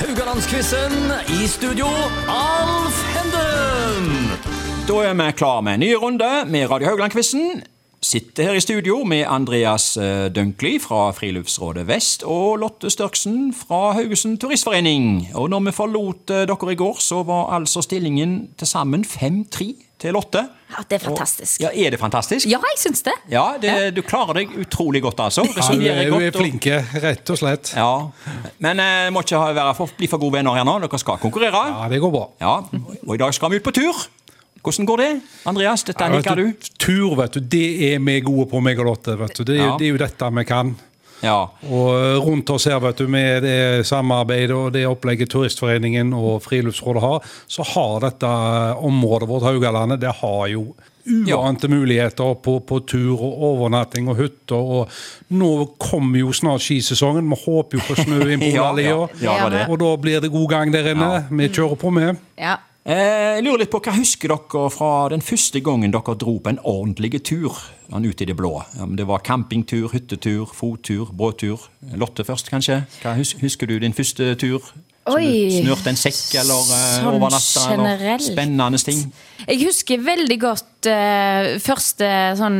Rogalandsquizen. I studio, Alf Henden. Da er vi klar med en ny runde med Radio Haugland-quizen. Sitter her i studio med Andreas eh, Dønkli fra Friluftsrådet Vest og Lotte Størksen fra Haugesund Turistforening. Og når vi forlot eh, dere i går, så var altså stillingen til sammen 5-3 til Lotte. Ja, det er fantastisk. Og, ja, Er det fantastisk? Ja, jeg syns det. Ja, det, du klarer deg utrolig godt, altså. Ja, eh, vi er Resonnerer jo godt og- flinke, rett og slett. Ja. Men eh, må ikke ha- være for, bli for gode venner her nå. Dere skal konkurrere. Ja, det går bra. Ja, og i dag skal vi ut på tur. Hvordan går det? Andreas, dette Ja, vet liker du. Tur, vet du, det er vi gode på, meg og Lotte. vet du. Det, er jo- Ja. det er jo dette vi kan. Ja. Og eh, rundt oss her, vet du, med det samarbeidet og det opplegget Turistforeningen og Friluftsrådet har, så har dette eh, området vårt, Haugalandet, det har jo uante muligheter på, på tur og overnatting og hytter. Og nå kommer jo snart skisesongen. Vi håper jo på snø inn på Ja, ja, Valea. ja, det var det. Og da blir det god gang der inne. Vi kjører på, vi. Ja. Eh, jeg lurer litt på hva husker dere fra den første gangen dere dro på en ordentlig tur sånn ut i det blå? Om det var campingtur, hyttetur, fottur, båttur. Lotte først, kanskje. Hva hus husker du din første tur? Som Oi. du snørte en sekk eller eh, Sånn overnatta? Eller generelt. spennende ting? Jeg husker veldig godt eh, første sånn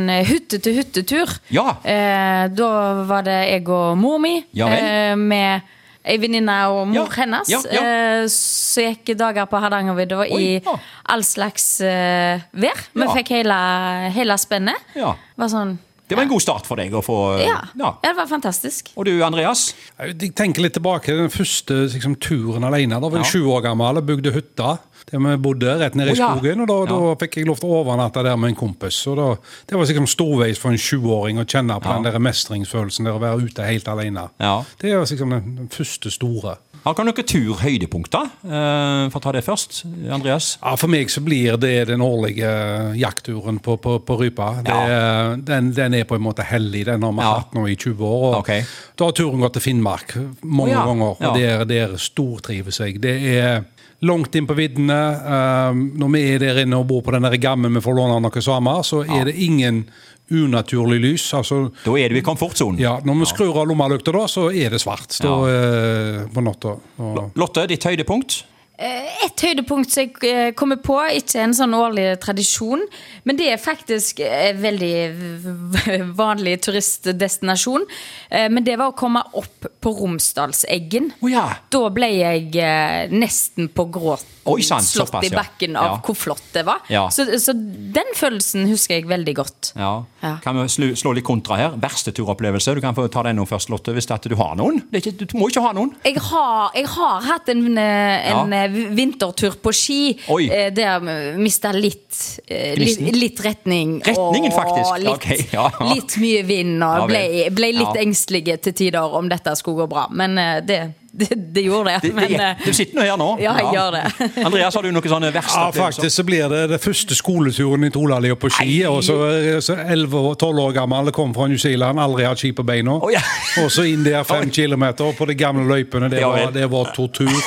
hytte-til-hyttetur. Ja. Eh, da var det jeg og mor mi Ja vel. eh, med ei venninne og mor Ja, hennes. ja, ja. eh, så gikk dager på Hardangervidda i Oi, ja. all slags eh, vær. Vi Ja. fikk hele, hele spennet. Ja. Var sånn Det var en god start for deg å få eh, ja. ja, det var fantastisk. Og du, Andreas? Jeg tenker litt tilbake til den første liksom, turen alene. Da var jeg sju år gammel og bygde hytta. Der vi bodde rett nede Å, i ja. skogen. Og da, da Ja. fikk jeg lov til å overnatte der med en kompis. Og da, det var liksom storveis for en sjuåring å kjenne på den der mestringsfølelsen der å være ute helt alene. Ja. Det er liksom den, den første store. Har dere noen turhøydepunkter? Eh, for å ta det først, Andreas. Ja, For meg så blir det den årlige jaktturen på, på, på rypa. Det, den, den er på en måte hellig. Den har vi Ja. hatt nå i 20 år. Og Ok. Da har turen gått til Finnmark mange Å, ja. ganger. Ja. Og der, der stortrives jeg. Det er langt inn på viddene. Um, når vi er der inne og bor på den der gammen vi får låne av noen samer, så er det ingen unaturlig lys. altså... Da er du i komfortsonen. Ja, Når vi skrur av lommelykta, da, så er det svart da, Ja. eh, på natta. Og- Lotte, ditt høydepunkt? Et høydepunkt som jeg eh, kommer på, ikke en sånn årlig tradisjon, men det er faktisk eh, en veldig v- vanlig turistdestinasjon. Eh, Men det var å komme opp på Romsdalseggen. Å ja. Da ble jeg eh, nesten på gråt Oi, sant, slått såpass, i ja. bakken av Ja. hvor flott det var. Ja. Så, så den følelsen husker jeg veldig godt. Ja. Ja. Kan vi slu, slå litt kontra her? Verste turopplevelse? Du kan få ta den nå først, Lotte, hvis at du har noen. Det er ikke, du må ikke ha noen. Jeg har, jeg har hatt en, eh, en Ja. eh, vintertur på ski Oi. eh, der jeg mista litt, eh, litt, Gnisten? litt retning. Retningen, faktisk? Og litt, Ok, ja. litt mye vind, og Ja, vel. ble, ble litt Ja. engstelige til tider om dette skulle gå bra. Men eh, det, det, det gjorde det. Det, det, Men, er- eh, du sitter nå her nå. ja, jeg gjør det. Andreas, har du noen sånne verste Ja, faktisk så blir det den første skoleturen i Trollalia på ski. Og så, så 11 og 12 år gammel, kom fra New Zealand, aldri hatt ski på beina. Å, ja. Og så inn der fem Oi. kilometer på de gamle løypene. Det Ja, var, vel. det var tortur,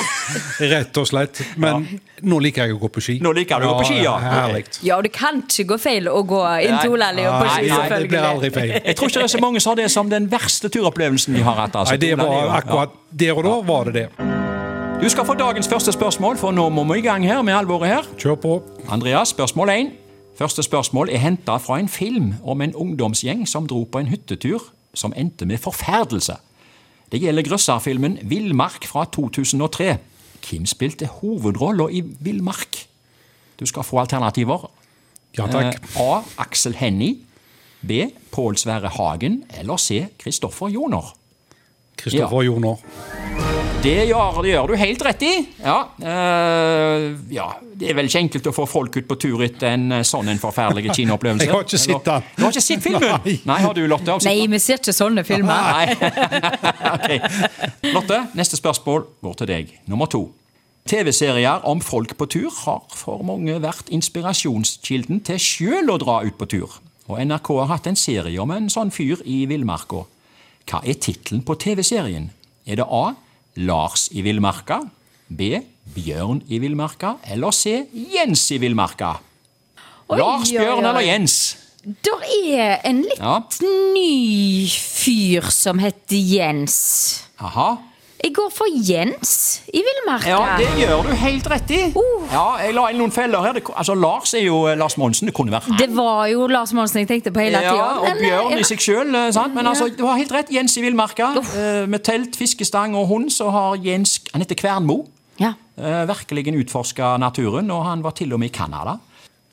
rett og slett. Men nå liker jeg å gå på ski. Nå liker du å gå på ski, ja. Herlig. Ja, og det kan ikke gå feil å gå inn Nei. til Olalia på Nei, nei, ski, Det blir selvfølgelig. aldri feil. Jeg tror ikke det er så mange som har det som den verste turopplevelsen de har hatt. Altså. Nei, det var Ja. akkurat der og da var det det. Du skal få dagens første spørsmål, for nå må vi i gang her med alvoret her. Kjør på. Andreas, spørsmål 1. Første spørsmål er henta fra en film om en ungdomsgjeng som dro på en hyttetur som endte med forferdelse. Det gjelder grøsserfilmen 'Villmark' fra 2003. Hvem spilte hovedrollen i 'Villmark'? Du skal få alternativer. Ja takk. Eh, A. Aksel Hennie. B. Pål Sverre Hagen. Eller C. Kristoffer Joner. Kristoffer Joner. Det gjør, det gjør du helt rett i. Ja, eh, ja, Det er vel ikke enkelt å få folk ut på tur etter en eh, sånn en forferdelig kinoopplevelse. Jeg har ikke sett den. Du har ikke sett filmen? Nei, Nei. har du, Lotte? Har du sett Nei, vi ser ikke sånne filmer. Nei. Ok. Lotte, neste spørsmål går til deg. Nummer to. TV-serier om folk på tur har for mange vært inspirasjonskilden til sjøl å dra ut på tur. Og NRK har hatt en serie om en sånn fyr i villmarka. Hva er tittelen på TV-serien? Er det A. Lars i villmarka? B. Bjørn i villmarka? Eller C. Jens i villmarka? Oi, Lars, oi, Bjørn oi. eller Jens? Det er en litt Ja. ny fyr som heter Jens. Aha. Jeg går for Jens i Villmarka. Ja, Uh. det gjør du helt rett i. Ja, jeg la inn noen feller her. Det, altså, Lars er jo eh, Lars Monsen. Det kunne vært Det var jo Lars Monsen jeg tenkte på hele tida. ja, og bjørn i seg sjøl. Men altså, Ja. du har helt rett. Jens i villmarka. Uff. eh, Med telt, fiskestang og hund så har Jens Han heter Kvernmo. Ja. Eh, Virkelig utforska naturen, og han var til og med i Canada.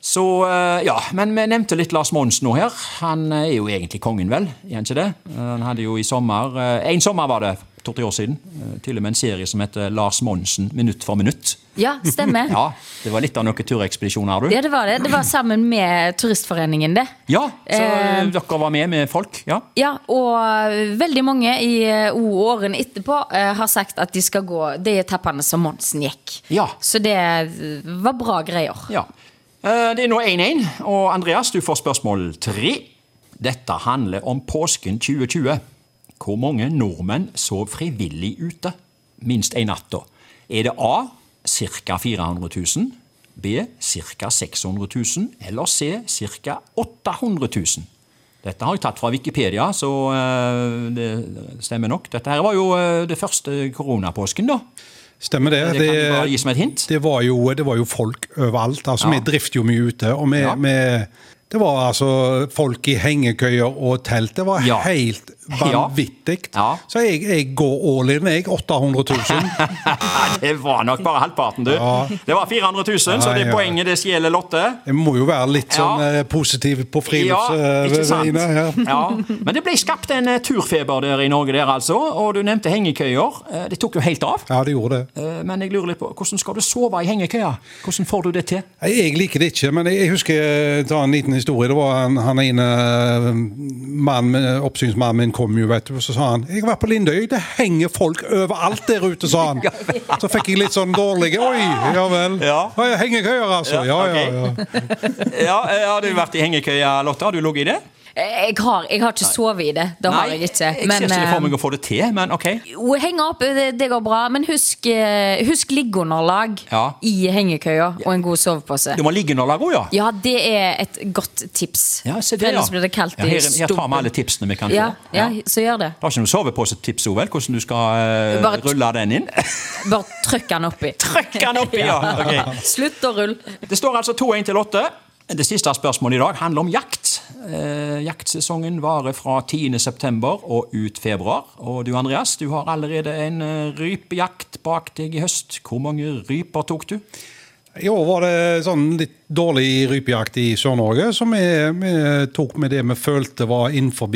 Så, eh, ja, Men vi nevnte litt Lars Monsen nå her. Han eh, er jo egentlig kongen, vel? Er han ikke det? Eh, Han hadde jo i sommer eh, En sommer var det, to-tre år siden, eh, til og med en serie som heter Lars Monsen minutt for minutt. ja, stemmer. ja. Ja, Det var litt av noen turekspedisjoner, du. det var det. Det var sammen med Turistforeningen, det. Ja, så eh, Eh. dere var med med folk? Ja. Ja, og veldig mange i eh, o- årene etterpå eh, har sagt at de skal gå de etappene som Monsen gikk. Ja. Så det eh, var bra greier. Ja. Eh, Det er nå 1-1, og Andreas, du får spørsmål tre. Dette handler om påsken 2020. Hvor mange nordmenn sov frivillig ute? Minst en natt, da. Er det A ca. 400 000? B ca. 600 000? Eller C ca. 800 000? Dette har jeg tatt fra Wikipedia, så eh, det stemmer nok. Dette her var jo eh, det første koronapåsken, da. Stemmer det. Det kan du bare gi som et hint. det var jo, det var jo folk overalt. Altså, Ja. Vi drifter jo mye ute. og vi, Ja. vi, Det var altså folk i hengekøyer og telt. Det var Ja. helt Ja. vanvittig. Ja. Så jeg, jeg går all in, jeg. 800 000. Det var nok bare halvparten, du. Ja. Det var 400 000, så det Ja, ja. poenget det stjeler Lotte. Jeg må jo være litt sånn Ja. eh, positiv på Ja, eh, ikke sant? friluftsveiene. her. Ja. Men det ble skapt en eh, turfeber der i Norge, der altså. Og du nevnte hengekøyer. Eh, Det tok jo helt av. ja, det gjorde det. Eh, Men jeg lurer litt på, hvordan skal du sove i hengekøya? Hvordan får du det til? Nei, Jeg liker det ikke, men jeg jeg husker eh, ta en liten historie. Det var en, han ene eh, mann, med- oppsynsmannen min kom jo, vet du, og så sa han 'Jeg har vært på Lindøy, det henger folk overalt der ute', sa han. Så fikk jeg litt sånn dårlig Oi, ja vel. Ja. Oi, Hengekøyer, altså. Ja, ja, ja. Ja, eh, Har du vært i hengekøya, Lotte? Har du ligget i det? Eh, Jeg har, jeg har ikke sovet i det. Det har jeg ikke. jeg ser ikke det for eh, meg å få det til, men ok. Jo, henge opp, det, det går bra. Men husk, eh, husk liggeunderlag Ja. i hengekøya og en god sovepose. Du må ligge under laget òg, ja. Ja, det er et godt tips. Ja, se For det, ja. Ellers blir det kaldt Ja, i her, her tar stumpen. vi alle tipsene vi kan Ja, få. ja, så gjør det. Du har ikke noe sovepose-tips, Ovel? Hvordan du skal eh, Bare- rulle den inn? Bare trykk den oppi. Trykk den oppi, ja! Ok. Slutt å rulle. Det står altså 2-1 til Lotte. Det siste spørsmålet i dag handler om jakt. Eh, jaktsesongen varer fra 10. september og ut februar. Og du Andreas, du har allerede en eh, rypejakt bak deg i høst. Hvor mange ryper tok du? I år var det sånn litt dårlig rypejakt i Sør-Norge, så vi, vi tok med det vi følte var innenfor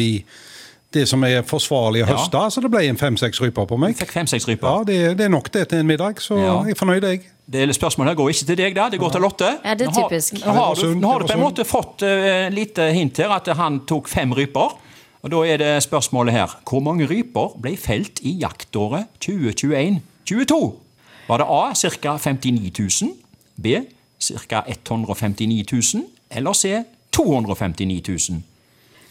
det som er forsvarlig å Ja. høste. Så det ble en fem-seks ryper på meg. Fikk fem-seks ryper. Ja, det, det er nok det til en middag, så Ja. jeg er fornøyd, jeg. Det spørsmålet her går ikke til deg, da. det går til Lotte. Ja, det er Nå har- typisk. Nå har, Det du, var sunt, nå har du det på en var måte fått eh, lite hint her at han tok fem ryper. Og Da er det spørsmålet her. Hvor mange ryper ble felt i jaktåret 2021-22? Var det A ca. 59 000? B ca. 159 000? Eller C 259 000?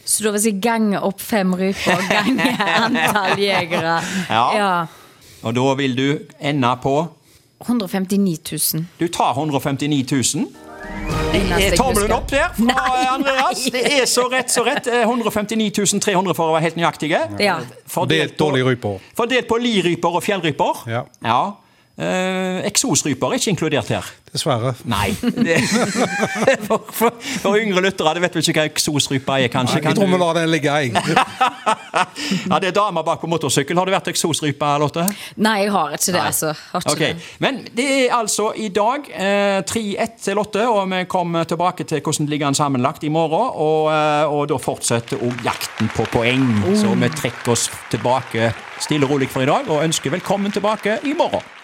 Så da vil jeg gange opp fem ryper og gange antall jegere. Ja. Og da vil du ende på 159 000. Du tar 159 000. Det er Eneste jeg tommelen husker. opp der fra Nei, Andreas. nei. Det er så rett, så rett. Eh, 159 300 for å være helt nøyaktige. Ja. Delt dårlige ryper. Fordelt på liryper og fjellryper. Ja. Eh, eksosryper er ikke inkludert her. Dessverre. Nei. Det, for, for, for yngre lyttere, det vet vel ikke hva eksosrype er, kanskje? Jeg tror vi lar den ligge, jeg. ja, det er damer bak på motorsykkel. Har du vært eksosrype, Lotte? Nei, jeg har ikke det, Nei. altså. Har ikke Ok, det. Men det er altså i dag eh, 3-1 til Lotte, og vi kommer tilbake til hvordan det ligger an sammenlagt i morgen. Og, eh, og da fortsetter òg jakten på poeng. Oh. Så vi trekker oss tilbake stille og rolig for i dag, og ønsker velkommen tilbake i morgen.